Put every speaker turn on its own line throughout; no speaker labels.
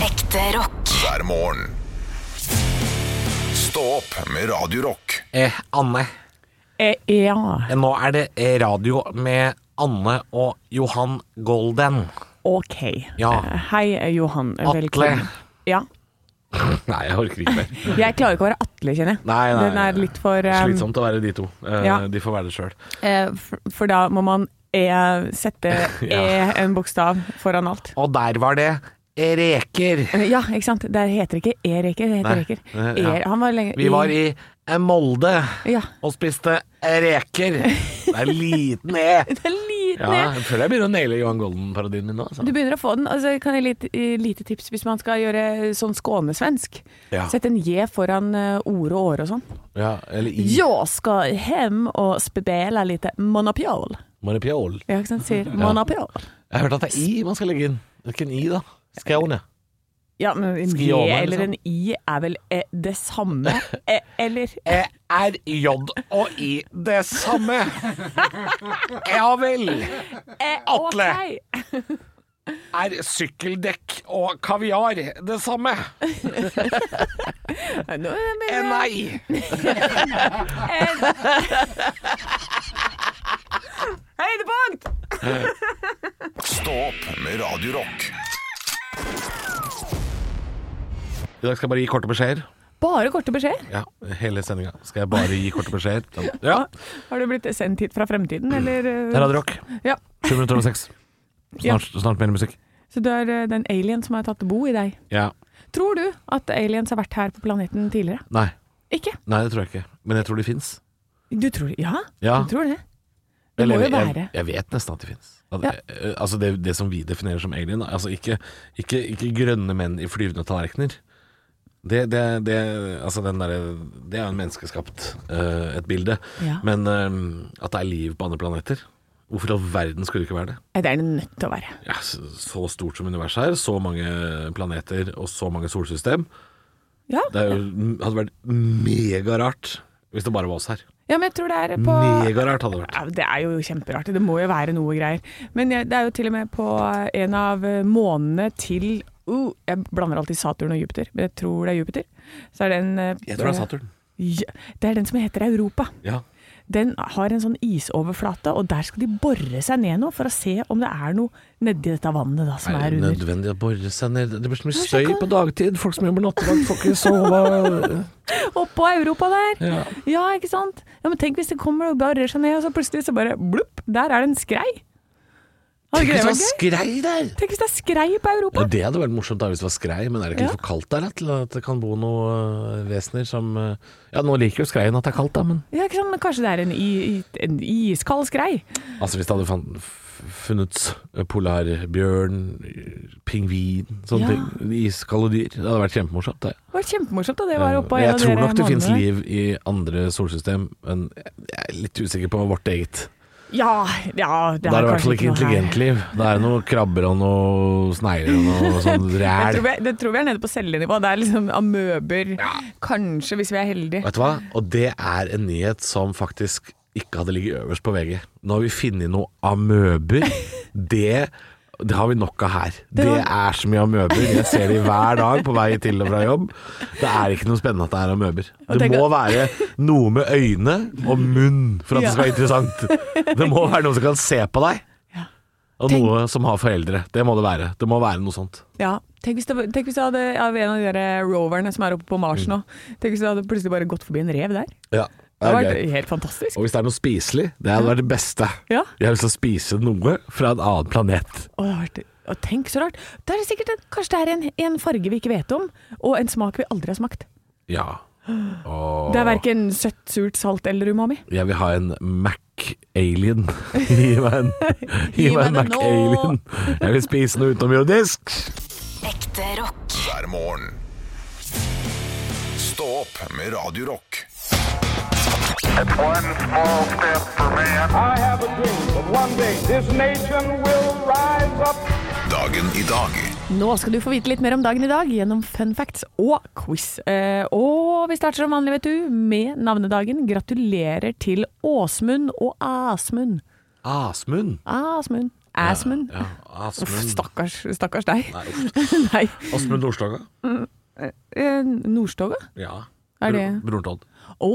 Ekte rock.
hver morgen. Stå opp med Radio Rock.
Eh, Anne,
Eh, ja.
eh, nå er det eh, radio med Anne og Johan Golden.
Ok.
Ja.
Eh, Hei, Johan.
Ah.
Atle.
Velkommen. Ja.
Nei, jeg orker ikke mer.
Jeg klarer ikke å være Atle, kjenner jeg.
Nei, nei,
Den er
nei.
litt for eh,
Slitsomt å være de to. Eh,
Ja.
De får være det sjøl.
eh, for, for da må man e, sette
Ja.
e en bokstav foran alt.
Og der var det eh, reker.
Eh, Ja, ikke sant. Det heter ikke E-reker, det heter
Nei.
reker.
Eh,
E,
ja.
han var lenge
Vi var i eh, Molde
Ja.
og spiste eh, reker. Det er liten E.
Det er liten
Ja,
E.
jeg føler jeg begynner å naile Johan Golden-parodien min nå. Altså.
Du begynner å få den. Altså, kan jeg lite, lite tips hvis man skal gjøre sånn skånesvensk?
Ja.
Sett en J foran eh, ord og åre og sånn.
Ja, eller i
Jeg skal hjem og spille litt monopjol.
Maripjol.
Ja, ikke sant? Sier monopjol.
Jeg har hørt at det er i man skal legge inn. Det er ikke en i, da. Skåne.
Ja, men en J
Skiova, liksom.
eller en I er vel eh, det samme? Eh, eller
Eh, Er J og I det samme? Ja vel.
eh,
Atle.
ok.
Er sykkeldekk og kaviar det samme?
Nå, men,
Eh, Nei.
eh, Høydepunkt!
Stå opp med Radio Rock.
I dag skal jeg bare gi korte beskjeder.
Bare korte beskjeder.
Ja, hele sendinga skal jeg bare gi korte beskjeder. Sånn. Ja.
Har du blitt sendt hit fra fremtiden, eller? eh,
Det er Radio Rock.
Ja.
Sju minutter over seks. Snart, snart mer musikk.
Så du er eh, den alien som har tatt bo i deg.
Ja.
Tror du at aliens har vært her på planeten tidligere?
Nei.
Ikke?
Nei, det tror jeg ikke. Men jeg tror de fins.
Du tror Ja,
Ja.
du tror det. Det må jo
Ah. jeg,
være.
jeg, jeg vet nesten at de finnes. At,
Ja.
eh, Altså det, det som vi definerer som alien. Altså ikke, ikke, ikke grønne menn i flyvende tallerkener. Det, det, det, altså den derre- det er jo en menneskeskapt eh, et bilde.
Ja.
Men eh, at det er liv på andre planeter Hvorfor i all verden skulle det ikke være det?
Nei, Det er det nødt til å være.
Ja, så så stort som universet er, så mange planeter og så mange solsystem.
Ja.
Det er jo, hadde vært megarart hvis det bare var oss her.
ja, men jeg tror det er på
Megarart hadde det vært.
Ja, Det er jo kjemperart. Det må jo være noe greier. Men jeg- det er jo til og med på eh, en av månene til uh, Jeg blander alltid Saturn og Jupiter, men jeg tror det er Jupiter. Så er det en eh,
Jeg tror det er Saturn.
Ja, det er den som heter Europa.
Ja.
Den har en sånn isoverflate, og der skal de bore seg ned nå for å se om det er noe nedi dette vannet da, som
Er
er
det
under.
nødvendig å bore seg ned? Det blir så mye
Kanskje
støy
kan-
på dagtid. Folk som jobber nattevakt får ikke sove.
Oppå Europa der!
Ja.
Ja, ikke sant? Ja, Men tenk hvis det kommer og borer seg ned, og så plutselig så bare blupp, der er det en skrei. Hadde
Tenk
ikke
hvis
det
det var
vært gøy?
skrei der!
Tenk hvis det er skrei på Europa!
Ja, det hadde vært morsomt da hvis det var skrei, men er det ikke
Ja.
litt for kaldt der da, til at det kan bo noen vesener som eh, Ja, nå liker jo skreien at det er kaldt, da, men
Ja, ikke sant? Men kanskje det er en, i, i- en iskald skrei?
Altså, hvis det hadde fan- f- funnet polarbjørn, pingvin,
Ja.
sånne ting. Iskalde dyr. Det hadde vært kjempemorsomt, det.
Det var kjempemorsomt, og det var oppå
Men
en
jeg
av
tror
dere
nok det finnes
månedene.
liv i andre solsystem, men jeg er litt usikker på vårt eget.
Ja, ja,
Da er
det er
det i hvert
kanskje
fall ikke
ikke noe her.
intelligent liv. Da er det noe krabber og noe snegler og noe sånn
Jeg
ræl.
tror vi, det tror vi er nede på cellenivå. Det er liksom amøber. Kanskje, hvis vi er heldige.
Vet du hva? Og det er en nyhet som faktisk ikke hadde ligget øverst på VG. Nå har vi funnet noe amøber. Det, det har vi nok av her. Det
var-
er så mye amøber. Jeg ser de hver dag på vei til og fra jobb. Det er ikke noe spennende at det er amøber. Det
tenk-
må være noe med øyne og munn for at det skal være interessant. Det må være noen som kan se på deg. Og
Tenk-
noe som har foreldre. Det må det være. Det må være noe sånt.
Ja. Tenk hvis, det, tenk hvis det hadde av en av de der roverne som er oppe på Mars nå Tenk hvis det hadde plutselig bare gått forbi en rev der.
Mm. Ja,
Det hadde
gøy.
vært helt fantastisk.
Og hvis det er noe spiselig, det hadde vært det beste.
Ja.
Jeg har lyst til å spise noe fra en annen planet.
Og, det hadde vært, og tenk så rart. Da er det sikkert en, kanskje det er en, en farge vi ikke vet om, og en smak vi aldri har smakt.
Ja. Og
Det er verken søtt, surt, salt eller umami.
jeg vil ha en Mac-alien. Gi meg en, gi meg en
meg det nå.
Mac-alien. Jeg vil spise noe utenomjordisk.
Ekte rock.
hver morgen. Stå opp med Radio Rock.
One small step for man.
I have a dream that one day this nation will rise up.
Dagen i dag
Nå skal du få vite litt mer om dagen i dag gjennom fun facts og quiz. Eh, og vi starter som vanlig, vet du, med navnedagen. Gratulerer til Åsmund og Asmund.
Asmund.
Asmund. Asmund.
Ja,
Uff,
Asmund
stakkars, stakkars deg.
Nei, uff.
Nei.
Asmund Nordstoga.
Eh, Nordstoga?
Ja.
Er
Bro-
det-
Broren til Odd.
Å,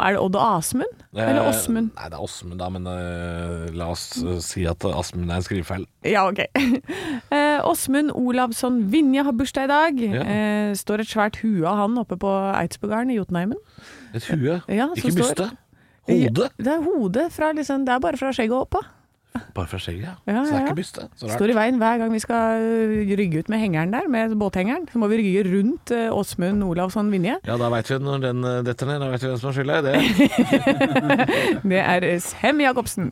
er det Odd og Asmund? Eller
Eh,
Åsmund?
Nei, det er Åsmund, da, men eh, la oss eh, si at Asmund er en skrivefeil.
Ja, ok. Eh, Åsmund Olavsson Vinje har bursdag i dag.
Ja.
Eh, står et svært hue av han oppe på Eidsbugarden i Jotunheimen.
Et hue,
Ja, som
ikke
står-
byste. Hodet.
Ja, Det er hodet fra liksom Det er bare fra skjegget og opp, da.
Bare fra skjegget, ja.
Ja,
Så det
ja,
er
ja.
ikke byste. Så rart.
Står i veien hver gang vi skal øh, rygge ut med hengeren der, med båthengeren. Så må vi rygge rundt øh, Åsmund Olavsson Vinje.
Ja, da veit vi når den eh, detter ned. Da veit vi hvem som har skylda i det.
Det er øh, Sem Jacobsen.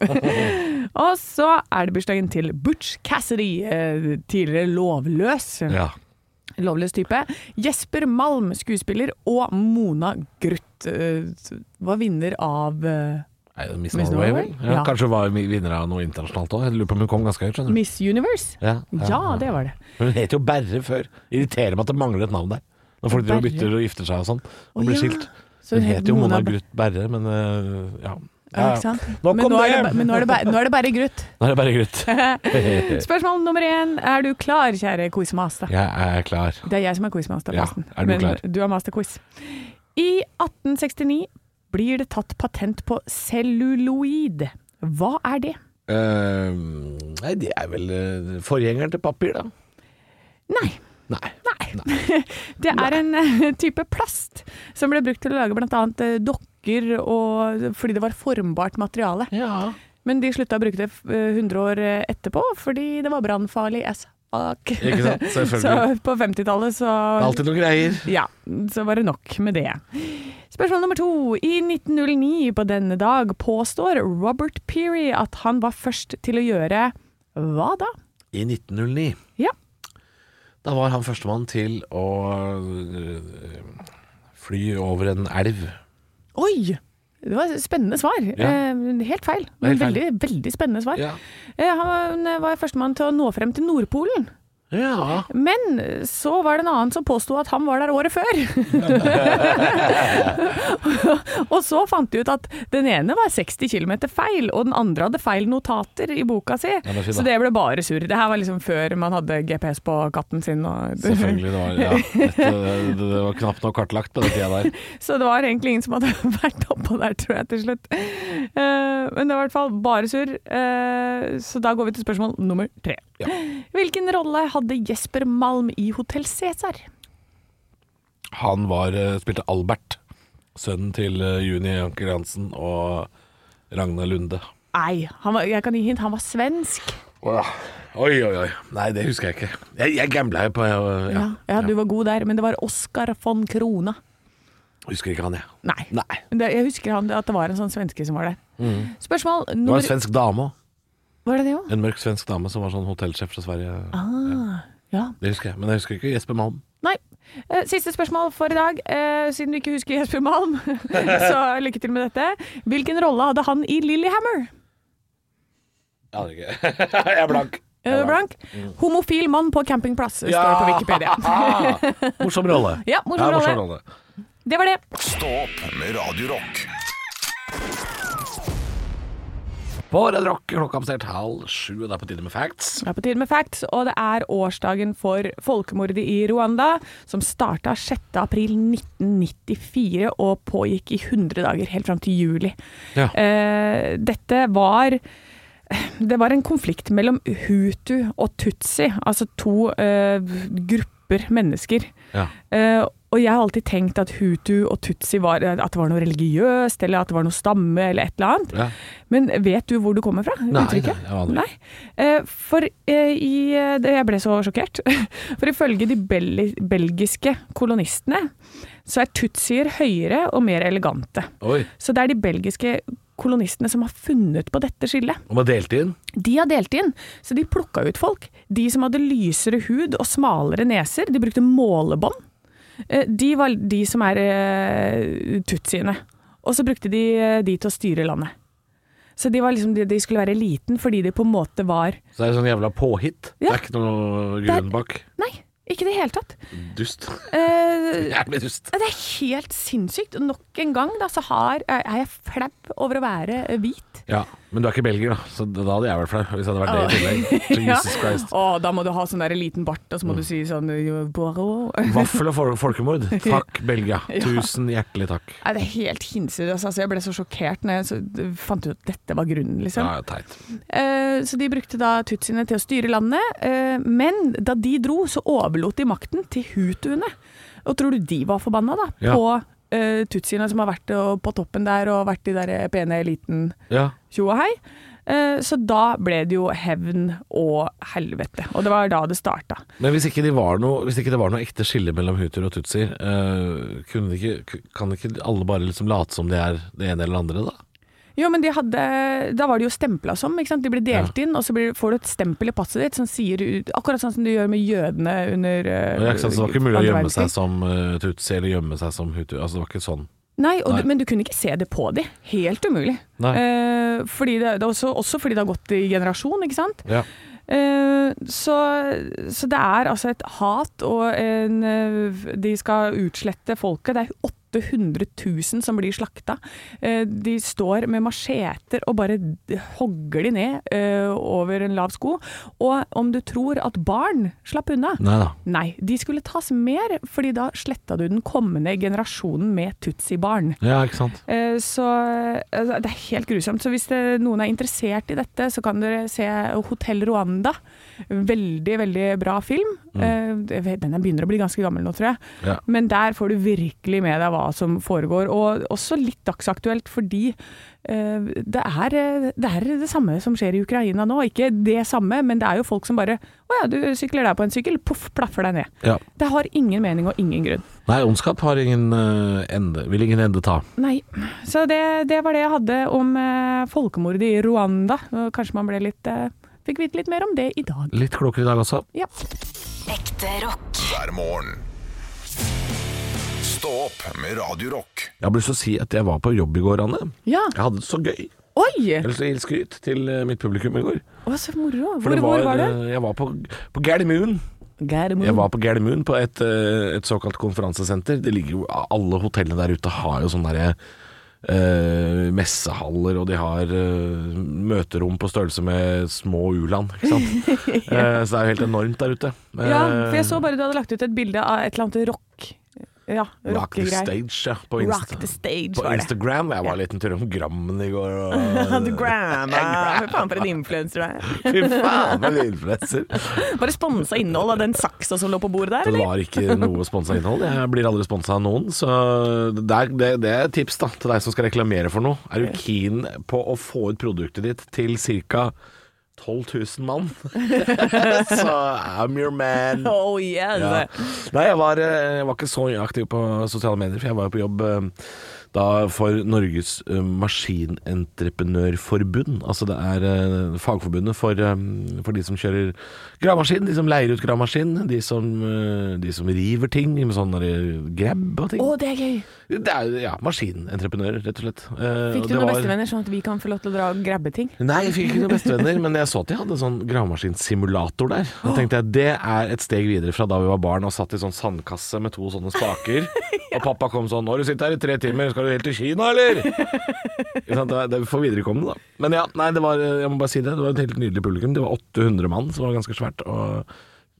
og så er det bursdagen til Butch Cassidy, øh, tidligere lovløs.
Ja.
Lovløs type. Jesper Malm, skuespiller, og Mona Gruth øh, var vinner av øh,
Er det Miss
Miss
Norway, vel?
Norway?
Ja,
Ja.
Kanskje var vi vinner av noe internasjonalt òg. Lurer på om hun kom ganske høyt, skjønner du.
Miss Universe.
Ja,
Ja, det var det.
Hun het jo Berre før. Irriterer meg at det mangler et navn der. Når folk driver og
Berre.
bytter og gifter seg og sånn, og
Å,
blir
ja.
skilt.
Så
Hun het jo Mona
Ber-
Gruth Berre, men eh, ja.
Ja,
Ja,
ikke sant?
Nok
Men
om
nå er
det.
det, ba- men nå er det, ba- nå er det bare Gruth.
Nå er det Berre Gruth.
Spørsmål nummer én. Er du klar, kjære quizmaster?
Jeg er klar.
Det er jeg som er quizmaster,
Ja,
forresten.
er du
Men
klar?
du er masterquiz. I 1869 blir det tatt patent på celluloid. Hva er det?
Eh, nei, det er vel eh, forgjengeren til papir, da.
Nei.
Nei.
Det er en eh, type plast som ble brukt til å lage bl.a. dokker og fordi det var formbart materiale.
Ja.
Men de slutta å bruke det eh, 100 år eh, etterpå fordi det var brannfarlig as fuck.
Ikke sant?
Så
Selvfølgelig.
på 50-tallet så
Alltid noen greier.
Ja, så var det nok med det. Spørsmål nummer to. I 1909 på denne dag påstår Robert Peary at han var først til å gjøre hva da?
I 1909
Ja.
Da var han førstemann til å øh, fly over en elv.
Oi! Det var et spennende svar.
Ja.
Eh, helt feil, men
Helt feil.
veldig, veldig spennende svar.
Ja.
Eh, han var førstemann til å nå frem til Nordpolen.
ja.
Men så var det en annen som påsto at han var der året før. og så fant de ut at den ene var 60 km feil, og den andre hadde feil notater i boka si.
men fy da.
så det ble bare surr. Det her var liksom før man hadde GPS på katten sin. Og
Selvfølgelig. Det var, ja. Dette, det, det var knapt nok kartlagt på den tida der.
så det var egentlig ingen som hadde vært oppå der, tror jeg, til slutt. Eh, men det var i hvert fall bare surr. Eh, så da går vi til spørsmål nummer tre.
Ja.
Hvilken rolle hadde Jesper Malm i Hotell Cæsar?
Han var, øh, spilte Albert, sønnen til øh, Juni Anker Hansen og Ragna Lunde.
Nei, han var, jeg kan gi hint, han var svensk.
Åh, Oi, oi, oi. Nei, det husker jeg ikke. Jeg, jeg gambla jo på øh,
Ja,
ja.
ja, du var god der, men det var Oscar von Krona.
Husker ikke han, jeg.
Nei.
Nei. Mm.
Men Det, jeg husker han, at det var en sånn svenske som var der. Spørsmål
Det
nummer
var en svensk dame òg.
Var det det òg?
En mørk svensk dame som var sånn hotellsjef fra Sverige.
Ja.
Det husker jeg. Men jeg husker ikke Jesper Malm.
Nei. Eh, Siste spørsmål for i dag, eh, siden du ikke husker Jesper Malm. så lykke til med dette. Hvilken rolle hadde han i Lillehammer?
Jeg aner ikke. Jeg er blank.
Er du Eh, blank?
Mm.
Homofil mann på campingplass, står det på Wikipedia.
Morsom rolle.
Ja, morsom rolle. Det var det.
Stå opp med Radio Rock.
På Red Rock klokka passert halv sju, og det er på tide med facts.
Det er på tide med facts, og det er årsdagen for folkemordet i Rwanda, som starta 6. april 1994 og pågikk i 100 dager, helt fram til juli.
Ja.
Eh, dette var det var en konflikt mellom Hutu og Tutsi, altså to eh, grupper mennesker.
Ja.
Eh, og jeg har alltid tenkt at Hutu og Tutsi var, eh, at det var noe religiøst, eller at det var noe stamme, eller et eller annet.
Ja.
Men vet du hvor du kommer fra?
Nei,
uttrykket?
nei, jeg aner
Nei. Eh, For eh, i eh, det- Jeg ble så sjokkert. For ifølge de bel belgiske kolonistene så er tutsier høyere og mer elegante.
Oi.
Så det er de belgiske kolonistene som har funnet på dette skillet.
Og man delte inn.
De har delt inn, så de plukka ut folk. De som hadde lysere hud og smalere neser, de brukte målebånd. Eh, De var de som er eh, tutsiene. Og så brukte de eh, de til å styre landet. Så de, var liksom, de, de skulle være eliten fordi de på en måte var
Så det er sånn jævla påhitt. Det
Ja.
er ikke noe grunn bak.
Nei, ikke i det hele tatt.
Dust.
Eh,
Jævlig dust.
det er helt sinnssykt. Og nok en gang da, så har, er jeg flau over å være eh, hvit.
Ja, Men du er ikke belgier, da, så da hadde jeg vært flau hvis jeg hadde vært det i tillegg. Jesus Christ. Mm.
Å, da må du ha sånn der liten bart, og så må du si sånn «Jo, Boro.
Vaffel og fol- folkemord. Takk, Belgia. Tusen hjertelig takk.
Nei, det er helt hinsides. Altså, jeg ble så sjokkert når jeg så, fant ut at dette var grunnen, liksom.
Ja, teit.
Eh, så de brukte da tutsiene til å styre landet, eh, men da de dro, så overlot de makten til hutuene. Og tror du de var forbanna, da?
Ja.
På eh, tutsiene som har vært eh, på toppen der, og vært i der pene eliten
Ja.
tjo og hei. Eh, Så da ble det jo hevn og helvete. Og det var da det starta.
Men hvis ikke, de var noe, hvis ikke det var noe ekte skille mellom hutuer og tutsier, eh, kunne de ikke, ku- kan ikke alle bare liksom late som de er det ene eller det andre, da?
Jo, men de hadde, Da var de jo stempla som. ikke sant? De ble delt inn, og så blir, får du et stempel i passet ditt som sier ut- Akkurat sånn som du gjør med jødene under eh,
Ja, ikke sant? Så det var ikke mulig å
andre
gjemme
verdenskrig.
seg som eh, tutsi eller gjemme seg som hutu. Altså, det var ikke sånn.
Nei, og
Nei.
Du, men du kunne ikke se det på dem. Helt umulig.
Nei.
Eh, fordi det, det er også, også fordi det har gått i generasjon, ikke sant.
Ja.
Eh, så, så det er altså et hat, og en, eh, de skal utslette folket. Det er 800 000 som blir slakta. Eh, de står med macheter og bare d- hogger de ned eh, over en lav sko. Og om du tror at barn slapp unna
Nei da.
Nei, de skulle tas mer, fordi da sletta du den kommende generasjonen med tutsibarn.
Ja, ikke sant.
Eh, Så altså, det er helt grusomt. Så hvis det, noen er interessert i dette, så kan dere se Hotell Rwanda. Veldig, veldig bra film. Eh, jeg vet- Den her begynner å bli ganske gammel nå, tror jeg.
Ja.
Men der får du virkelig med deg hva som foregår. Og også litt dagsaktuelt, fordi eh, det er, eh, det er det samme som skjer i Ukraina nå. Ikke det samme, men det er jo folk som bare Å ja, du sykler der på en sykkel. Poff, plaffer deg ned.
Ja.
Det har ingen mening og ingen grunn.
Nei, ondskap har ingen eh, ende. Vil ingen ende ta.
Nei. Så det, det var det jeg hadde om eh, folkemordet i Rwanda. Og Kanskje man ble litt eh, Fikk vite litt mer om det i dag.
Litt klokere i dag også.
Ja.
Ekte rock.
hver morgen. Stå opp med Radio Rock.
Jeg har lyst til å si at jeg var på jobb i går, Anne.
ja.
Jeg hadde det så gøy.
Oi!
Jeg har lyst til å gi skryt til eh, mitt publikum i går.
Å, så moro.
For
Hvor
det
var, hvor var du?
eh, Jeg var på, på Gardermoen. Jeg
Mm.
var på Gardermoen på et, eh, et såkalt konferansesenter. Det ligger jo, Alle hotellene der ute har jo sånne derre eh, messehaller, og de har eh, møterom på størrelse med små u-land. Ikke sant? Eh, så det er jo helt enormt der ute. Eh,
Ja, for jeg så bare du hadde lagt ut et bilde av et eller annet rock... eh, Ja,
Rock the
rockegreier.
stage, ja. På,
Rock
Insta-
the stage,
på
var det.
Instagram. Jeg var en liten tur om Grammen i går.
The
Og,
Gram. ja. Fy faen, for en influenser du er.
fy faen, for en influenser!
Bare sponsa innhold av den saksa som lå på bordet der,
Det
eller?
var ikke noe sponsa innhold. Jeg blir aldri sponsa av noen. Så det er, det, det er et tips da til deg som skal reklamere for noe. Er du keen på å få ut produktet ditt til ca. 12 000 mann? så I'm your man.
Oh yes!
Ja. Nei, jeg var, eh, jeg var ikke så aktiv på sosiale medier, for jeg var jo på jobb eh, da for Norges eh, Maskinentreprenørforbund. Altså det er eh, fagforbundet for, eh, for de som kjører gravemaskin, de som leier ut gravemaskin, de som, eh, de som river ting med sånn derre grab og ting.
Å, det er gøy!
Det er jo, ja, maskinentreprenører, rett og slett. Eh, og
Fikk du
det
noen
var-
bestevenner, sånn at vi kan få lov til å dra og grabbe ting?
Nei, jeg fikk ikke noen bestevenner, men jeg så at de hadde sånn gravemaskinsimulator der. Da tenkte jeg det er et steg videre fra da vi var barn og satt i sånn sandkasse med to sånne spaker. Og pappa kom sånn 'Når du sitter her i tre timer, skal du helt til Kina, eller?' Ikke sant? Det var- Det får viderekomme, da. Men ja, nei, det var, jeg må bare si det. Det var et helt nydelig publikum. Det var 800 mann, som var ganske svært. Og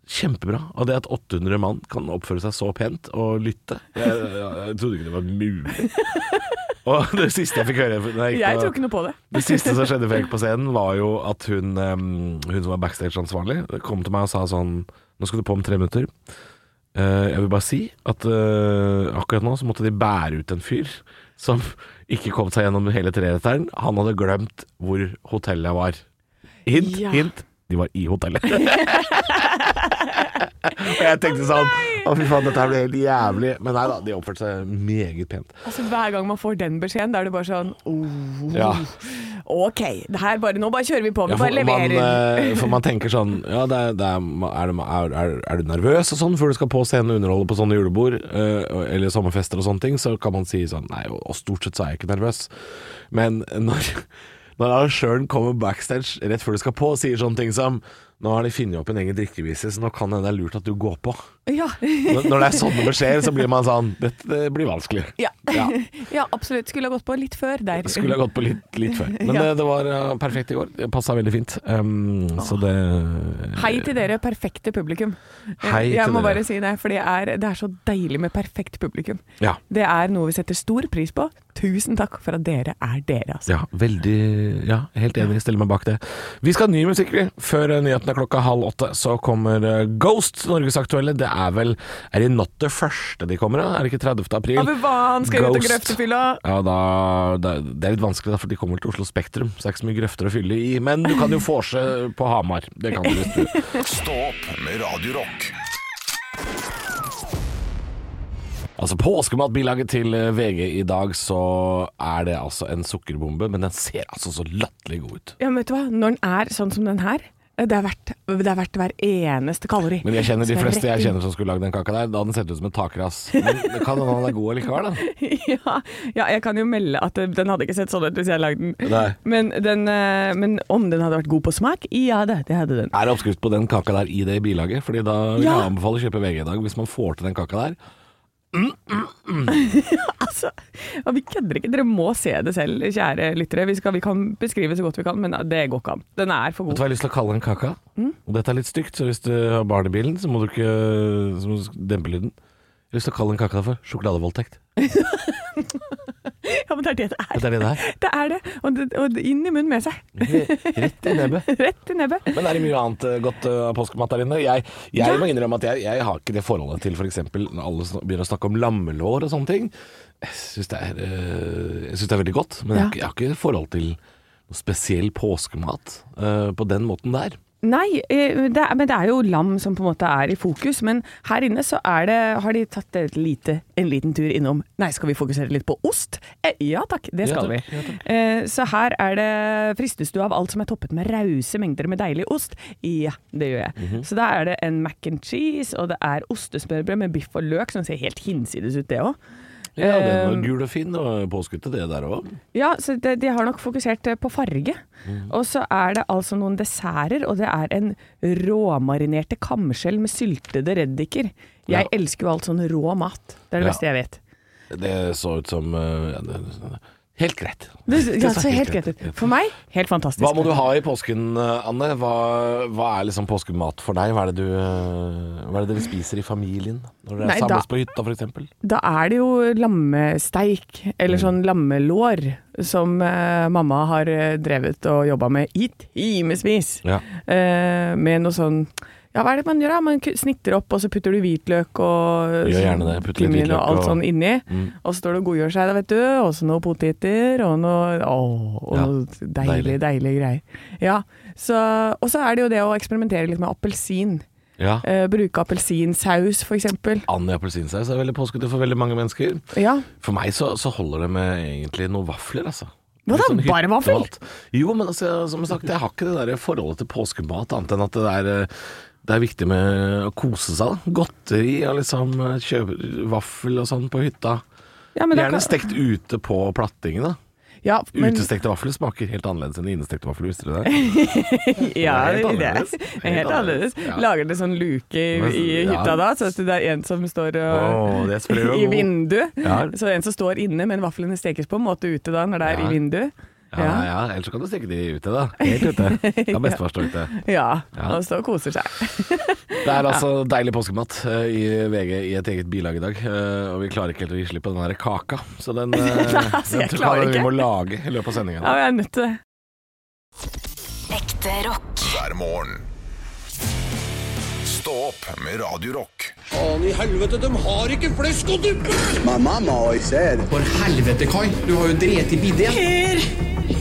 Kjempebra. Og det at 800 mann kan oppføre seg så pent og lytte Jeg, jeg, jeg trodde ikke det var mulig. Og det siste jeg fikk høre da gikk
Jeg
på-
tror ikke noe på det.
det siste som skjedde før jeg gikk på scenen, var jo at hun, eh, hun som var backstage-ansvarlig, kom til meg og sa sånn Nå skal du på om tre minutter. Eh, jeg vil bare si at eh, akkurat nå så måtte de bære ut en fyr som ikke kom seg gjennom hele treretteren. Han hadde glemt hvor hotellet var. Hint,
Ja.
hint. De var i hotellet. og jeg tenkte sånn Å, fy faen, dette her ble helt jævlig. Men nei da, de oppførte seg meget pent.
Altså Hver gang man får den beskjeden, da er det bare sånn oh,
Ja.
OK, det her bare, nå bare kjører vi på. Vi
Ja, for,
bare leverer.
Man, eh, for man tenker sånn Ja, det er, det er, er, du- er, er, er du nervøs og sånn før du skal på scenen og underholde på sånne julebord eh, og- eller sommerfester og sånne ting, så kan man si sånn Nei, og, og stort sett så er jeg ikke nervøs. Men når, når arrangøren kommer backstage rett før du skal på og sier sånne ting som Nå har de funnet opp en egen drikkevise, så nå kan det hende det er lurt at du går på.
Ja.
Når når det er sånne beskjeder, så blir man sånn Dette det blir vanskelig.
Ja.
Ja.
ja, absolutt. Skulle ha gått på litt før der.
Skulle ha gått på litt, litt før. Men
Ja.
det, det var eh, perfekt i går. Det passa veldig fint. Um, så det
Hei til dere, perfekte publikum.
Hei
jeg
til
må
dere.
bare si det, for det er, det er så deilig med perfekt publikum.
Ja.
Det er noe vi setter stor pris på. Tusen takk for at dere er dere, altså.
Ja, veldig Ja, helt enig. Stiller meg bak det. Vi skal ha ny musikk, vi. Før eh, nyhetene klokka halv åtte så kommer eh, Ghost, norgesaktuelle. Det er vel Er det not det første de kommer, da? Er det ikke 30. april?
Ja, men faen, skal jeg ut og
Ghost.
grøftefylla?
Ja, da, det, er- det er litt vanskelig, da, for de kommer vel til Oslo Spektrum. Så det er ikke så mye grøfter å fylle i. Men du kan jo vorse på Hamar. Det kan du hvis du
Stå opp med Radio Rock.
Altså Påskematbilaget til eh, VG i dag, så er det altså en sukkerbombe, men den ser altså så latterlig god ut.
Ja, men vet du hva? Når den er sånn som den her, det er verdt, det er verdt hver eneste kalori.
Men jeg kjenner de
Skal jeg
fleste
rett
jeg
inn?
kjenner som skulle lagd den kaka der, da hadde den sett ut som en takras. Men det kan hende han er god likevel, da.
ja, ja, jeg kan jo melde at eh, den hadde ikke sett sånn ut hvis jeg lagde den.
Nei.
Men, den eh, men om den hadde vært god på smak? Ja, det, det hadde den.
Er det oppskrift på den kaka der i det bilaget? Fordi da vil
Ja.
jeg anbefale å kjøpe VG i dag, hvis man får til den kaka der.
Altså, ja, vi kødder ikke. Dere må se det selv, kjære lyttere. Vi, skal, vi kan beskrive så godt vi kan, men det går ikke an. Den er for
Vet du hva
god.
jeg har lyst til å kalle den kaka?
Mm.
Og dette er litt stygt, så hvis du har barn i bilen, så må du ikke så må du dempe lyden. Jeg har lyst til å kalle den kaka der for sjokoladevoldtekt.
Ja, men det er det det er.
Dette er det det er.
Det er det. Og, det, og det- inn i munnen med seg.
Rett i nebbet.
Rett i nebbet.
Men er det mye annet eh, godt eh, av påskemat der inne? Jeg, jeg må innrømme at jeg, jeg har ikke det forholdet til f.eks. når alle sn- begynner å snakke om lammelår og sånne ting. Jeg syns det, er, eh, jeg synes det er veldig godt, men jeg,
Ja.
har ikke- jeg har ikke forhold til noe spesiell påskemat eh, på den måten der.
Nei, eh, det er, men det er jo lam som på en måte er i fokus. Men her inne så er det, har de tatt et lite, en liten tur innom Nei, skal vi fokusere litt på ost? Eh, ja takk, det
Ja,
skal
takk,
vi. Eh, så her er det Fristes du av alt som er toppet med rause mengder med deilig ost? Ja, det gjør jeg.
Mhm.
Så da er det en mac and cheese, og det er ostesmørbrød med biff og løk, som ser helt hinsides ut, det òg.
Ja, den
Eh,
var gul og fin og påskete, det der òg.
Ja, så det, de har nok fokusert eh, på farge.
Mm.
Og så er det altså noen desserter, og det er en råmarinerte kamskjell med syltede reddiker. Jeg
Ja.
elsker jo alt sånn rå mat. Det er det
Ja.
beste jeg vet.
Det så ut som eh, ja, det- Helt greit.
Det, ja,
så
så helt
helt
greit ut. For meg, helt fantastisk.
Hva må du ha i påsken, eh, Anne? Hva, hva er liksom påskemat for deg? Hva er det, du, eh, hva er det dere spiser i familien når dere
Nei, da-
samles på hytta f.eks.?
Da er det jo lammesteik, eller
Mm.
sånn lammelår, som eh, mamma har eh, drevet og jobba med i timevis.
Ja.
Eh, med noe sånn Ja, hva er det man gjør da? Man ku- snitter opp, og så putter du hvitløk
Gjør
og
gjerne det. Putter litt
kummin og
hvitløk
alt
og- Mm.
sånn inni. Og så står det og godgjør seg, da, vet du. Og så noen poteter og noe Å, og
Ja,
noe
deilig.
deilig, deilig greier. Ja. Så, og så er det jo det å eksperimentere litt med appelsin.
ja.
Eh, bruke appelsinsaus, for eksempel.
And i appelsinsaus er veldig påskete for veldig mange mennesker.
Ja.
For meg så, så holder det med egentlig noen vafler, altså.
Hva da?
Litt hyttemat.
Bare vaffel?
Jo, men altså, som sagt, jeg har ikke det der forholdet til påskemat, annet enn at det er, eh, det er viktig med å kose seg. da. Godteri og liksom eh, kjøpe vaffel og sånn på hytta.
Ja, men da
Gjerne
kan-
stekt ute på plattingen, da.
Ja, men,
Utestekte vafler smaker helt annerledes enn innestekte vafler, visste du det?
ja,
Det er helt
det det er
annerledes.
det er helt annerledes.
Ja.
Lager det sånn luke i,
Men-
i hytta
ja.
da, så at det er en som står og
Åh, det er sprø og
I
god.
vinduet.
Ja.
Så en som står inne, men vaflene stekes på en måte ute da, når det er
Ja.
i vinduet.
Ja, ja, ellers så kan du steke de ute, da. Helt ute. Kan bestefar stå ute.
ja.
Ja.
Og så koser seg.
Det er altså deilig påskemat eh, i VG i et eget bilag i dag. eh, Og vi klarer ikke helt å gi slipp på den der kaka. Så den, eh,
altså,
den
jeg
tror
klarer
jeg vi
ikke.
må lage i løpet av sendingen.
Ja, jeg er nødt til det.
Ekte rock.
hver morgen. Stå opp med Radio Rock.
My mama always said,
Helvete, Kai. Du har jo drept i bidé.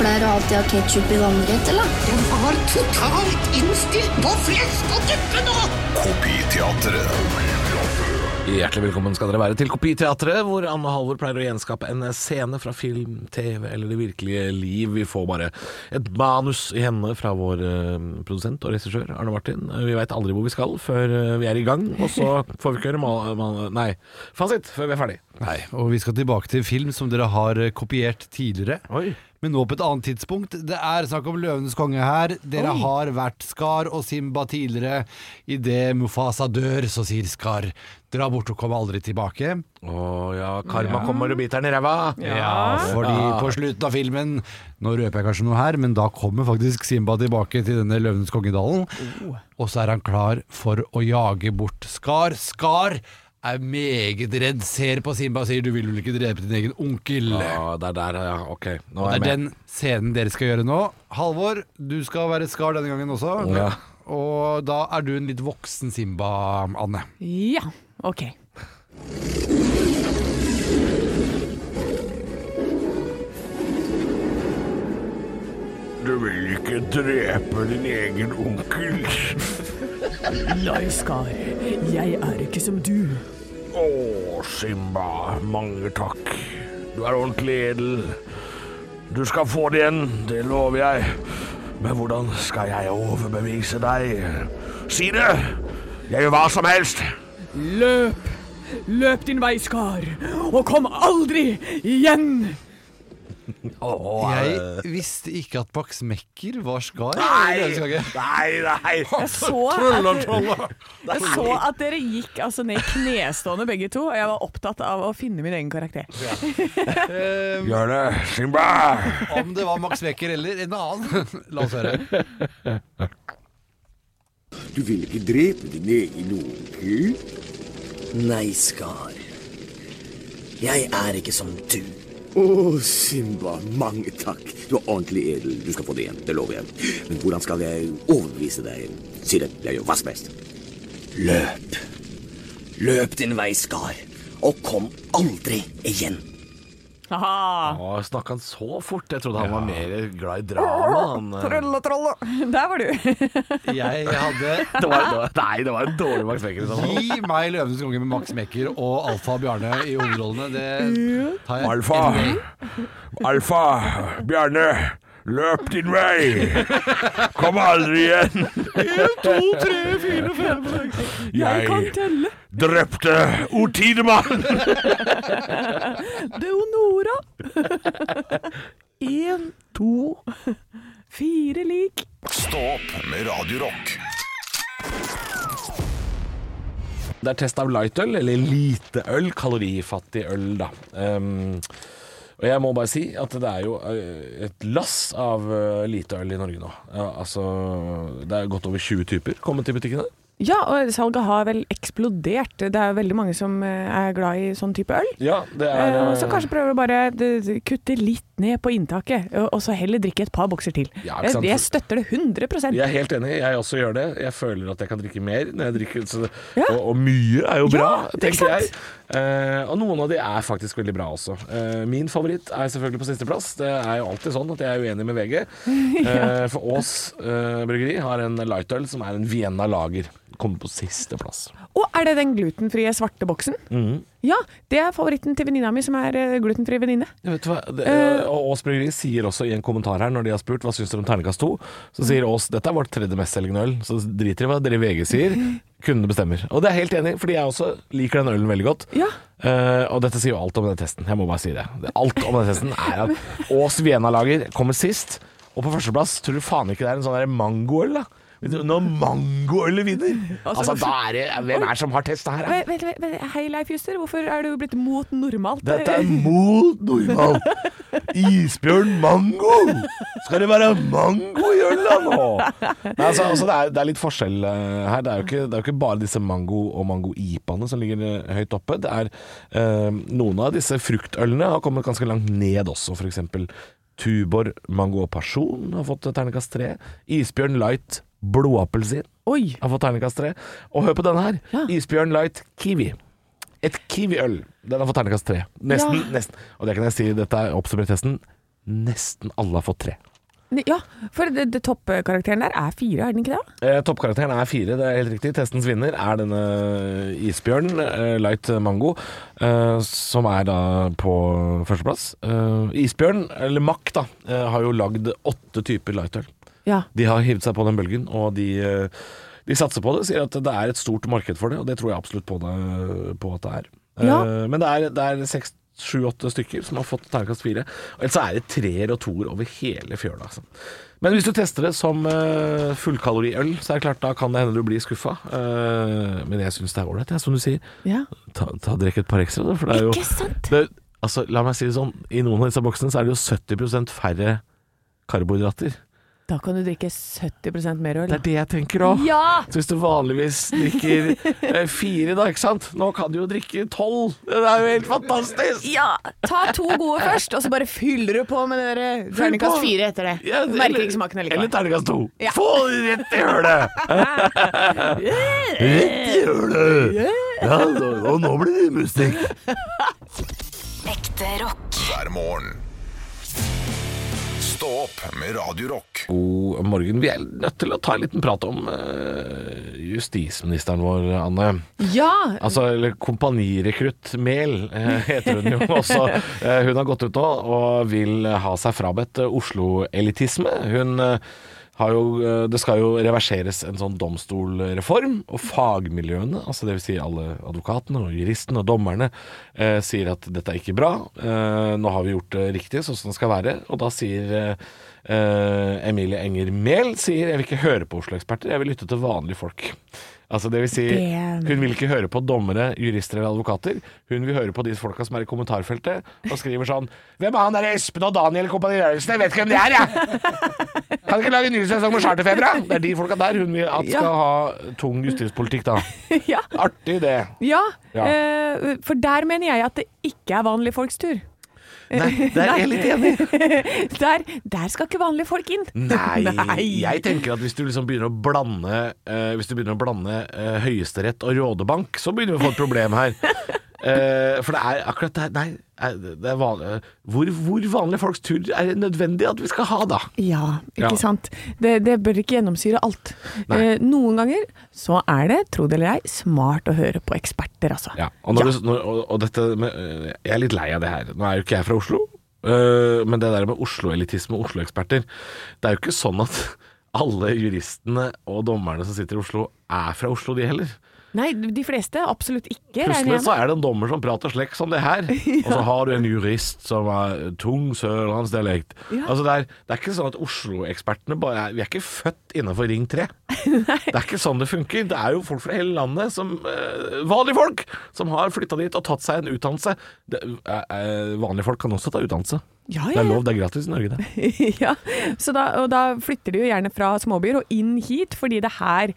Pleier du alltid å ha ketsjup i vannrett, eller? Den var totalt innstilt på flesk og duppe nå!
Kopiteatret.
Hjertelig velkommen skal dere være til Kopiteatret, hvor Anne og Halvor pleier å gjenskape en scene fra film, TV eller det virkelige liv. Vi får bare et manus i hendene fra vår eh, produsent og regissør Arne Martin. Eh, Vi veit aldri hvor vi skal før eh, vi er i gang, og så får vi ikke høre mal... mal nei, fasit før vi er ferdig.
Nei, og vi skal tilbake til film som dere har eh, kopiert tidligere.
Oi.
Men nå på et annet tidspunkt. Det er snakk om Løvenes konge her. Dere har vært Skar og Simba tidligere. Idet Mufasa dør, så sier Skar dra bort og kom aldri tilbake.
Å ja, karma kommer og biter den i ræva.
Fordi på slutten av filmen Nå røper jeg kanskje noe her, men da kommer faktisk Simba tilbake til denne Løvenes kongedalen. Og så er han klar for å jage bort Skar. Skar er meget redd, ser på Simba og sier 'du vil vel ikke drepe din egen onkel'?
Ja, det er der, ja. Ok, nå
Det
er
er
jeg
den
med.
scenen dere skal gjøre nå. Halvor, du skal være skar denne gangen også.
Ja.
Og da er du en litt voksen Simba, Anne.
Ja, ok.
Du vil ikke drepe din egen onkel.
Nei, Skar, jeg er ikke som du.
Å, Simba, mange takk. Du er ordentlig edel. Du skal få det igjen, det lover jeg. Men hvordan skal jeg overbevise deg? Si det! Jeg gjør hva som helst.
Løp! Løp din vei, Skar, og kom aldri igjen!
Jeg visste ikke at Bax Mekker var skar.
eh, Nei, nei, nei.
Jeg så at, jeg så at dere gikk altså ned i knestående begge to, og jeg var opptatt av å finne min egen karakter.
Gjør det, Simba.
Om det var Max Mekker eller en annen. La oss høre.
Du vil ikke drepe din egen onkel?
Nei, Skar. Jeg er ikke som du.
Å, Simba, mange takk. Du er ordentlig edel. Du skal få det igjen, det lover jeg. Men hvordan skal jeg overbevise deg? Si det, jeg gjør hva som helst.
Løp. Løp din vei, Skar, og kom aldri igjen.
Aha.
Å, snakket han så fort? Jeg trodde han var mer glad i drama. Han, eh.
Der var du.
Jeg hadde
det var, det var, nei, det var en dårlig Max Becker. i så fall.
Gi meg Løvenes konge med Max Mekker og Alfa og Bjarne i hovedrollene. Det tar jeg.
Alfa! Alfa! Bjarne! Løp din vei! Kom aldri igjen!
Jeg kan
Jeg
telle.
drepte O Tidemann!
Deonora. Én, to, fire lik.
Stå opp med Radio Rock.
Det er test av lightøl, eller lite øl, kalorifattig øl, da. Ehm, og jeg må bare si at det er jo eh, et lass av eh, lite øl i Norge nå. Ja, altså, det er godt over 20 typer kommet til butikkene.
Ja, og salget har vel eksplodert. Det er jo veldig mange som eh, er glad i sånn type øl.
Ja, det er
Eh,
eh,
Så kanskje prøver du bare d- d- kutte litt ned på inntaket, og- og så heller drikke et par bokser til.
Ja, ikke
jeg,
sant?
jeg støtter det 100
Jeg er helt enig, jeg også gjør det. Jeg føler at jeg kan drikke mer når jeg drikker. Så det,
Ja.
og, og mye er jo
Ja,
bra,
ikke
tenker jeg.
sant?
Eh, og noen av de er faktisk veldig bra også. Eh, min favoritt er selvfølgelig på sisteplass. Det er jo alltid sånn at jeg er uenig med VG. Eh, for Aas eh, bryggeri har en lightøl som er en Vienna lager. Kommer på sisteplass.
Og er det den glutenfrie svarte boksen?
Mhm.
Ja, det er favoritten til venninna mi, som er eh, glutenfri venninne.
Ja, vet du hva? Det, og Aas Bryggeri sier også i en kommentar her, når de har spurt hva syns dere om terningkast 2, så sier Aas dette er vårt tredje mestselgende øl, så driter i hva dere i VG sier. Kundene bestemmer. Og det er jeg helt enig, i, fordi jeg også liker den ølen veldig godt.
Ja.
Eh, og dette sier jo alt om den testen. Jeg må bare si det. Det- Alt om den testen er at Aas Vienna-lager kommer sist, og på førsteplass tror du faen ikke det er en sånn der mangoøl, da. Vet du, Når mangoølet vinner! Altså, da er det Hvem er det som har testa her? da?
Vent, vent, vent, vent. Hei, Leif Juster, hvorfor er du blitt mot normalt?
Dette er mot nordmann. Isbjørn mango! Skal det være mango i øla nå? Nei, altså, altså, det, er, det er litt forskjell eh, her. Det er jo ikke, det er jo ikke bare disse mango- og mango-ipaene som ligger eh, høyt oppe. Det er eh, Noen av disse fruktølene har kommet ganske langt ned også, f.eks. Tubor mango og pasjon har fått terningkast tre. Isbjørn light blodapelsin
Oi!
har fått terningkast tre. Og hør på denne her.
Ja.
Isbjørn Light Kiwi. Et Kiwi-øl. Den har fått terningkast tre. Nesten,
Ja.
nesten. Og det kan jeg si, dette er oppsummert testen. Nesten alle har fått tre.
Ja, for det, det toppkarakteren der er fire, er den ikke det?
Eh, toppkarakteren er fire, det er helt riktig. Testens vinner er denne isbjørnen, eh, light mango, eh, som er da på førsteplass. Eh, isbjørn, eller Mack, da, eh, har jo lagd åtte typer lightøl.
Ja.
De har hivd seg på den bølgen, og de, eh, de satser på det. Sier at det er et stort marked for det, og det tror jeg absolutt på, det, på at det er. Eh,
Ja.
Men det er, det er seks Sju-åtte stykker som har fått terningkast fire. Ellers er det treer og toer over hele fjøla. Altså. Men hvis du tester det som eh, fullkaloriøl, så er det klart da kan det hende du blir skuffa. Eh, men jeg syns det er ålreit, jeg, som du sier.
Ja.
Ta, ta Drikk et par ekstra, da. For det er jo
Ikke sant?
Det, altså, la meg si det sånn, i noen av disse boksene så er det jo 70 færre karbohydrater.
Da kan du drikke 70 mer øl.
Det er det jeg tenker òg.
Ja!
Så hvis du vanligvis drikker eh, fire, da, ikke sant. Nå kan du jo drikke tolv. Det er jo helt fantastisk!
Ja! Ta to gode først, og så bare fyller du på med dere terningkast
på.
fire etter det.
Ja,
Du
eller-
Merker ikke smaken
Eller
likevel.
terningkast to.
Ja.
Få det rett i hølet! rett i hølet! Ja, nå- og nå blir det mustikk.
Ekte rock.
hver morgen. Stå opp med Radio Rock.
God morgen. Vi er nødt til å ta en liten prat om eh, justisministeren vår, Anne.
Ja!
Altså, eller kompanirekrutt Mehl eh, heter hun jo også. Eh, Hun har gått ut nå og vil ha seg frabedt eh, Oslo-elitisme. Hun eh, har jo, eh, det skal jo reverseres en sånn domstolreform, og fagmiljøene, altså dvs. Si alle advokatene og juristene og dommerne, eh, sier at dette er ikke bra. Eh, nå har vi gjort det riktig, sånn som det skal være. Og da sier eh, eh, Emilie Enger Mehl sier jeg vil ikke høre på Oslo-eksperter, jeg vil lytte til vanlige folk. Altså det vil si,
Damn.
hun vil ikke høre på dommere, jurister eller advokater. Hun vil høre på de folka som er i kommentarfeltet og skriver sånn Hvem er han der Espen og Daniel Kompani Lauritzen? Jeg vet ikke hvem det er, jeg! Kan ikke lage en ny sesong med Charterfeber, da? Det er de folka der hun vil at skal ha tung justispolitikk, da.
ja.
Artig det.
ja.
Ja.
eh, for der mener jeg at det ikke er vanlige folks tur.
Nei, der er jeg litt enig.
der, der skal ikke vanlige folk inn.
Nei, jeg tenker at hvis du liksom begynner å blande eh, Hvis du begynner å blande eh, Høyesterett og Rådebank, så begynner vi å få et problem her. Eh, for det er akkurat det her- Nei, eh, det er vanlig, hvor, hvor vanlige folks tur er det nødvendig at vi skal ha, da?
Ja, ikke
Ja.
sant. Det, det bør ikke gjennomsyre alt.
Nei.
Eh, noen ganger så er det, tro det eller ei, smart å høre på eksperter, altså.
Ja, og, når du, når, og, og dette med, øh, Jeg er litt lei av det her. Nå er jo ikke jeg fra Oslo, øh, men det der med Oslo-elitisme og Oslo-eksperter Det er jo ikke sånn at alle juristene og dommerne som sitter i Oslo, er fra Oslo, de heller.
Nei, de fleste absolutt ikke, regner
Plutselig
jeg
så
med.
er det en dommer som prater slekk som det her, og så har du en jurist som er tung sørlandsdialekt.
Ja.
Altså det, er, det er ikke sånn at Oslo-ekspertene bare er Vi er ikke født innenfor Ring 3. Det er ikke sånn det funker. Det er jo folk fra hele landet, som, eh, vanlige folk, som har flytta dit og tatt seg en utdannelse. Det, eh, eh, vanlige folk kan også ta utdannelse.
Ja,
Det
ja,
er
ja.
lov, det er gratis i Norge, det.
ja, så da, og da flytter de jo gjerne fra småbyer og inn hit, fordi det er her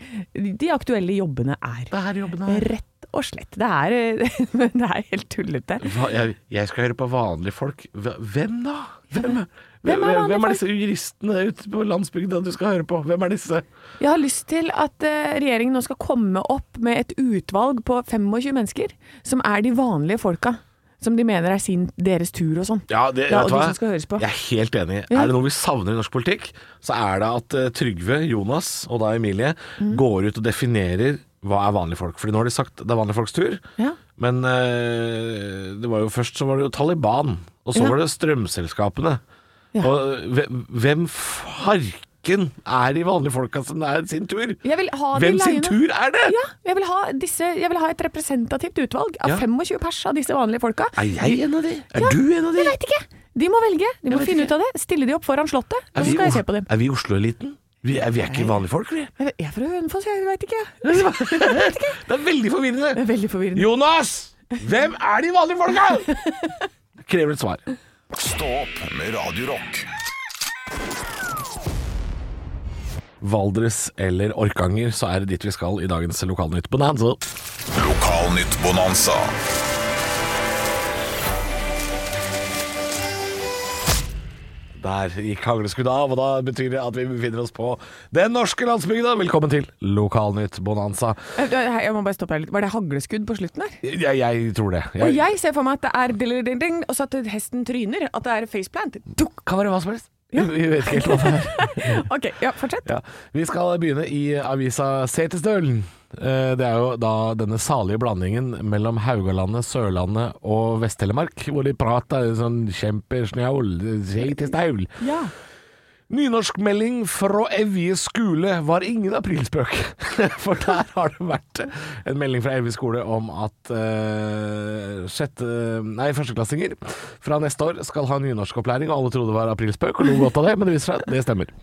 de aktuelle jobbene er.
Det er her jobbene
er. Rett og slett. Det er, men det er helt tullete.
Hva, jeg, jeg skal høre på vanlige folk. Hve- Hvem da? Hvem, hvem,
Hvem er
hvem,
vanlige
er disse juristene ute på landsbygda du skal høre på? Hvem er disse?
Jeg har lyst til at eh, regjeringen nå skal komme opp med et utvalg på 25 mennesker, som er de vanlige folka. Som de mener er sin, deres tur og sånn.
Ja, det, vet
Ja, og
du
de
hva?
som skal høres på.
Jeg er helt enig.
Ja.
Er det noe vi savner i norsk politikk, så er det at eh, Trygve, Jonas og da Emilie
Mm.
går ut og definerer hva er vanlige folk. Fordi nå har de sagt det er vanlige folks tur,
Ja.
men eh, det var jo først så var det jo Taliban, og så
Ja.
var det strømselskapene. Og hvem, hvem farken er de vanlige folka som det er sin tur?
Jeg vil ha de
Hvem sin
leiene.
tur er det?
Ja, jeg vil ha, disse, jeg vil ha et representativt utvalg av
Ja.
25 pers av disse vanlige folka.
Er jeg en av de? Er
Ja,
du en av de?
Jeg veit ikke. De må velge. De må
vet
finne ut av det. Stille de opp foran Slottet,
Er
og så
vi,
skal jeg
Os-
se på dem.
er vi Oslo-eliten? Vi, er- vi er ikke vanlige folk, vi.
Jeg vet- jeg er fra Hønefoss, jeg veit ikke.
Det er veldig forvirrende.
Det er veldig forvirrende.
Jonas! Hvem er de vanlige folka? Krever et svar.
Stå opp med Radio Rock.
Valdres eller Orkanger, så er det dit vi skal i dagens Lokalnytt Bonanza.
Lokalnytt Bonanza.
Der gikk hagleskuddet av, og da betyr det at vi befinner oss på den norske landsbygda. Velkommen til Lokalnytt Bonanza.
Eh, hei, Jeg må bare stoppe her litt. Var det hagleskudd på slutten her?
Jeg, jeg tror det.
Og jeg ser for meg at det er ding, ding, ding, og så at hesten tryner. At det er faceplant. Dukk!
Kan være hva som helst. Vi vet ikke helt hva det er.
Ok, ja, fortsett.
Ja. Vi skal begynne i avisa Setesdølen. Eh, Det er jo da denne salige blandingen mellom Haugalandet, Sørlandet og Vest-Telemark, hvor de prater sånn kjempesnjaul, Setesdøl.
Ja.
Nynorskmelding fra Evje skole var ingen aprilspøk, for der har det vært en melding fra Evje skole om at eh, sjette, nei, førsteklassinger fra neste år skal ha nynorskopplæring, og alle trodde det var aprilspøk og lo godt av det, men det viser seg at det stemmer.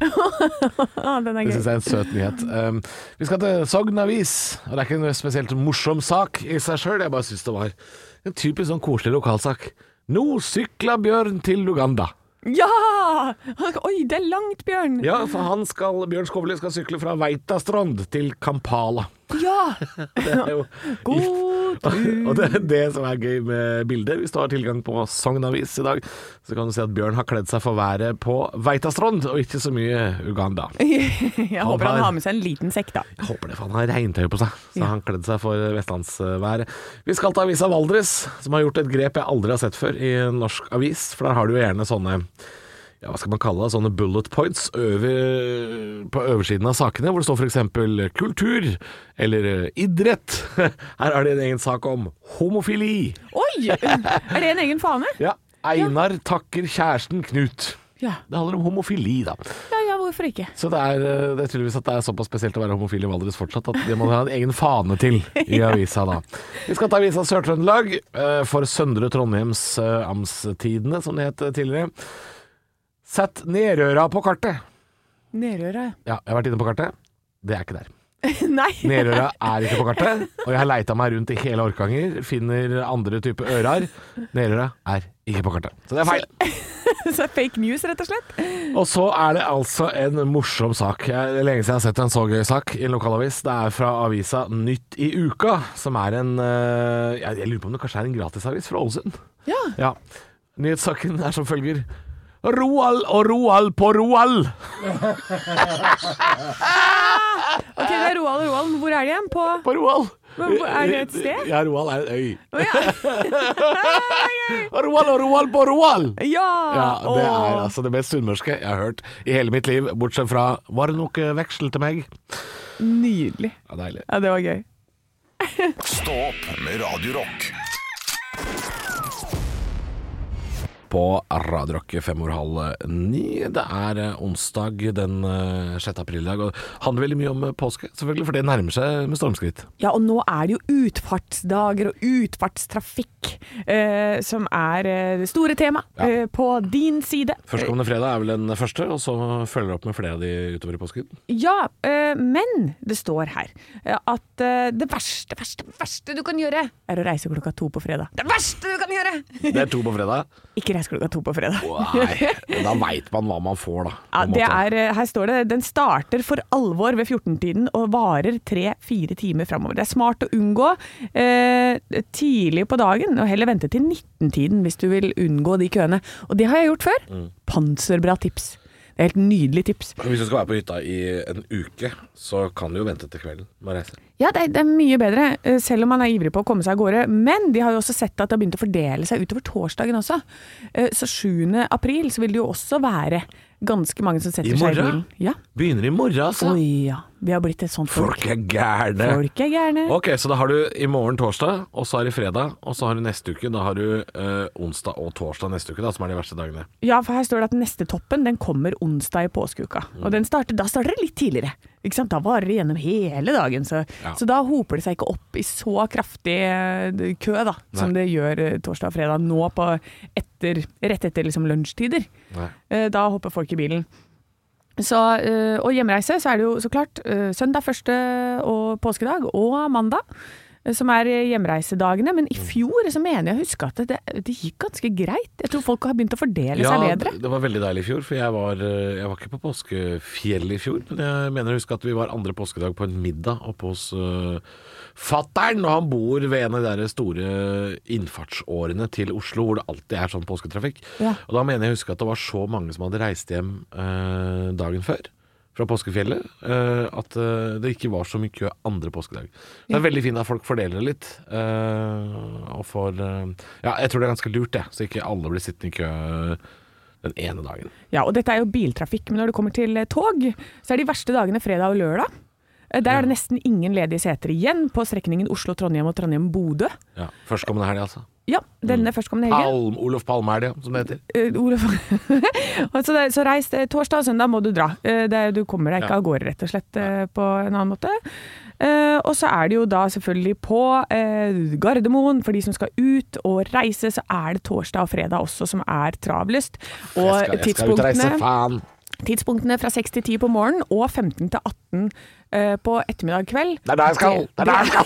Ah, den er
Det
gøy.
syns jeg er en søt nyhet. Um, vi skal til Sogn Avis, og det er ikke en spesielt morsom sak i seg sjøl, jeg bare syns det var en typisk sånn koselig lokalsak. Nå sykla bjørn til Uganda.
Ja! Oi, det er langt, Bjørn.
Ja, for han skal, Bjørn Skovli skal sykle fra Veitastrond til Kampala.
Ja.
Det er jo
God
Og det er det som er gøy med bildet. Hvis du har tilgang på Sogn Avis i dag, så kan du se at Bjørn har kledd seg for været på Veitastrond, og ikke så mye Uganda.
Jeg håper
har-
han har med seg en liten sekk, da.
Jeg håper det, for han har regntøy på seg. Så han kledde seg for vestlandsværet. Vi skal til avisa Valdres, som har gjort et grep jeg aldri har sett før i en norsk avis. For der har du jo gjerne sånne ja, hva skal man kalle det, sånne bullet points over, på oversiden av sakene, hvor det står f.eks. kultur eller eh, idrett. Her har de en egen sak om homofili.
Oi! Er det en egen fane?
Ja. Einar takker kjæresten Knut.
Ja.
Det handler om homofili, da.
Ja, ja, hvorfor ikke?
Så det er, eh, det er tydeligvis at det er såpass spesielt å være homofil i Valdres fortsatt, at det må ha en egen fane til i avisa da. Vi skal ta avisa Sør-Trøndelag eh, for Søndre Trondheims eh, Amtstidene, som det het tidligere. Sett Nerøra på kartet.
Nerøra.
Ja, jeg har vært inne på kartet. Det er ikke der.
Nei.
Nerøra er ikke på kartet, og jeg har leita meg rundt i hele Orkanger, finner andre type ørar. Nerøra er ikke på kartet. Så det er feil.
Så fake news, rett og slett.
Og så er det altså en morsom sak. Jeg, det er lenge siden jeg har sett en så gøy sak i en lokalavis. Det er fra avisa Nytt i uka, som er en eh, Jeg, jeg lurer på om det kanskje er en gratisavis fra Ålesund?
Ja.
ja. Nyhetssaken er som følger. Roald og Roald på Roald!
Ok, det
Eh.
er Roald og Roald. men Hvor er de igjen? På,
på Roald.
Er det et sted?
Ja, Roald er en øy. Roald og Roald på Roald!
Ja!
Ja, det er
åh.
altså det mest sunnmørske jeg har hørt i hele mitt liv, bortsett fra 'Var det nok eh, veksel til meg?'
Nydelig.
Ja, deilig.
Ja, det var gøy.
Stå opp med Radio Rock.
på Radio Rock fem over halv ni. Det er eh, onsdag den eh, 6. april i dag, og det handler veldig mye om eh, påske, selvfølgelig, for det nærmer seg med stormskritt.
Ja, og nå er det jo utfartsdager og utfartstrafikk eh, som er eh, det store temaet eh, på din side.
Førstkommende fredag er vel den første, og så følger det opp med flere av de utover i påsken.
Ja, eh, men det står her eh, at eh, det verste, verste, verste du kan gjøre, er å reise klokka to på fredag. Det verste du kan gjøre!
Det er to på fredag.
Ikke reis klokka to på fredag.
Nei, da veit man hva man får, da.
Ja,
på en
det
måte.
er, eh, her står det den starter for alvor ved 14-tiden og varer tre-fire timer framover. Det er smart å unngå eh, tidlig på dagen, og heller vente til 19-tiden hvis du vil unngå de køene. Og det har jeg gjort før.
Mm.
Panserbra tips. Det er helt nydelig tips.
Hvis du skal være på hytta i en uke, så kan du jo vente til kvelden med å reise.
Ja, det er, det er mye bedre, eh, selv om man er ivrig på å komme seg av gårde. Men de har jo også sett at det har begynt å fordele seg utover torsdagen også. Eh, Så 7. april så vil det jo også være ganske mange som
I
setter seg i bilen.
morgen?
Ja.
Begynner i morgen, altså.
Oi, ja. Vi har blitt et sånt folk.
Folk er gærne.
Folk er gærne.
Ok, så da har du i morgen torsdag, og så har du fredag, og så har du neste uke. Da har du eh, onsdag og torsdag neste uke, da, som er de verste dagene.
Ja, for her står det at neste toppen den kommer onsdag i påskeuka. Og den starter, da starter det litt tidligere. Ikke sant? Da varer det gjennom hele dagen. Så,
Ja.
så da hoper det seg ikke opp i så kraftig eh, kø da, som det gjør eh, torsdag og fredag nå på etter, rett etter liksom lunsjtider.
Nei.
Eh, Da hopper folk i bilen. Så, eh, og hjemreise, så er det jo så klart eh, søndag første og påskedag og mandag. eh, Som er hjemreisedagene, men i fjor så mener jeg å huske at det, det gikk ganske greit. Jeg tror folk har begynt å fordele seg bedre.
det var veldig deilig i fjor, for jeg var, eh, jeg var ikke på påskefjellet i fjor. Men jeg mener å huske at vi var andre påskedag på en middag oppe hos uh, fattern. Og han bor ved en av de der store innfartsårene til Oslo, hvor det alltid er sånn påsketrafikk.
Ja.
Og da mener jeg å huske at det var så mange som hadde reist hjem eh, dagen før. Fra påskefjellet. eh, at eh, det ikke var så mye kø andre påskedag. Det er veldig fint at folk fordeler det litt. eh, og får eh, Ja, jeg tror det er ganske lurt, det. Så ikke alle blir sittende i kø den ene dagen.
Ja, og dette er jo biltrafikk, men når det kommer til eh, tog, så er de verste dagene fredag og lørdag. Eh, Der er det nesten ingen ledige seter igjen på strekningen Oslo-Trondheim og Trondheim-Bodø.
Ja, Førstkommende helg, altså.
Ja, denne førstkommende helgen.
Palm, Olof Palme er det, som det heter.
Eh, Olof. Og så, det- så reis det, torsdag og søndag må du dra. Eh, Det, du kommer deg ikke
Ja.
av gårde, rett og slett, eh, på en annen måte. Eh, og så er det jo da selvfølgelig på eh, Gardermoen, for de som skal ut og reise, så er det torsdag og fredag også som er travlest. Og
jeg skal ut og reise, faen!
tidspunktene fra 6 til 10 på morgenen og 15 til 18 eh, på ettermiddag kveld.
Det er der jeg skal! Det er der jeg skal!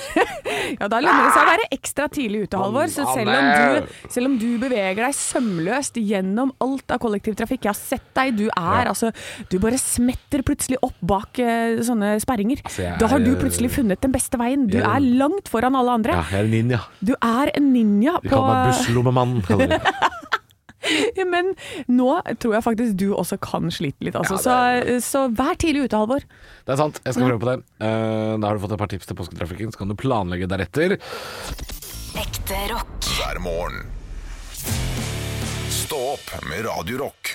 Ja, da lønner det seg å være ekstra tidlig ute, Halvor. Så selv om,
Anne!
du, selv om du beveger deg sømløst gjennom alt av kollektivtrafikk Jeg har sett deg, du er altså Du bare smetter plutselig opp bak eh, sånne sperringer.
jeg
Da har
er,
du
eh,
plutselig funnet den beste veien. Du
jeg-
er langt foran alle andre.
Ja, jeg er en ninja.
Du er en ninja
De
på
kaller meg busslommemann. kaller de.
Men nå tror jeg faktisk du også kan slite litt, altså. så, så vær tidlig ute, Halvor.
Det er sant, jeg skal prøve på det. Eh, da har du fått et par tips til påsketrafikken, så kan du planlegge deretter.
Ekte rock.
hver morgen. Stå opp med Radio Rock.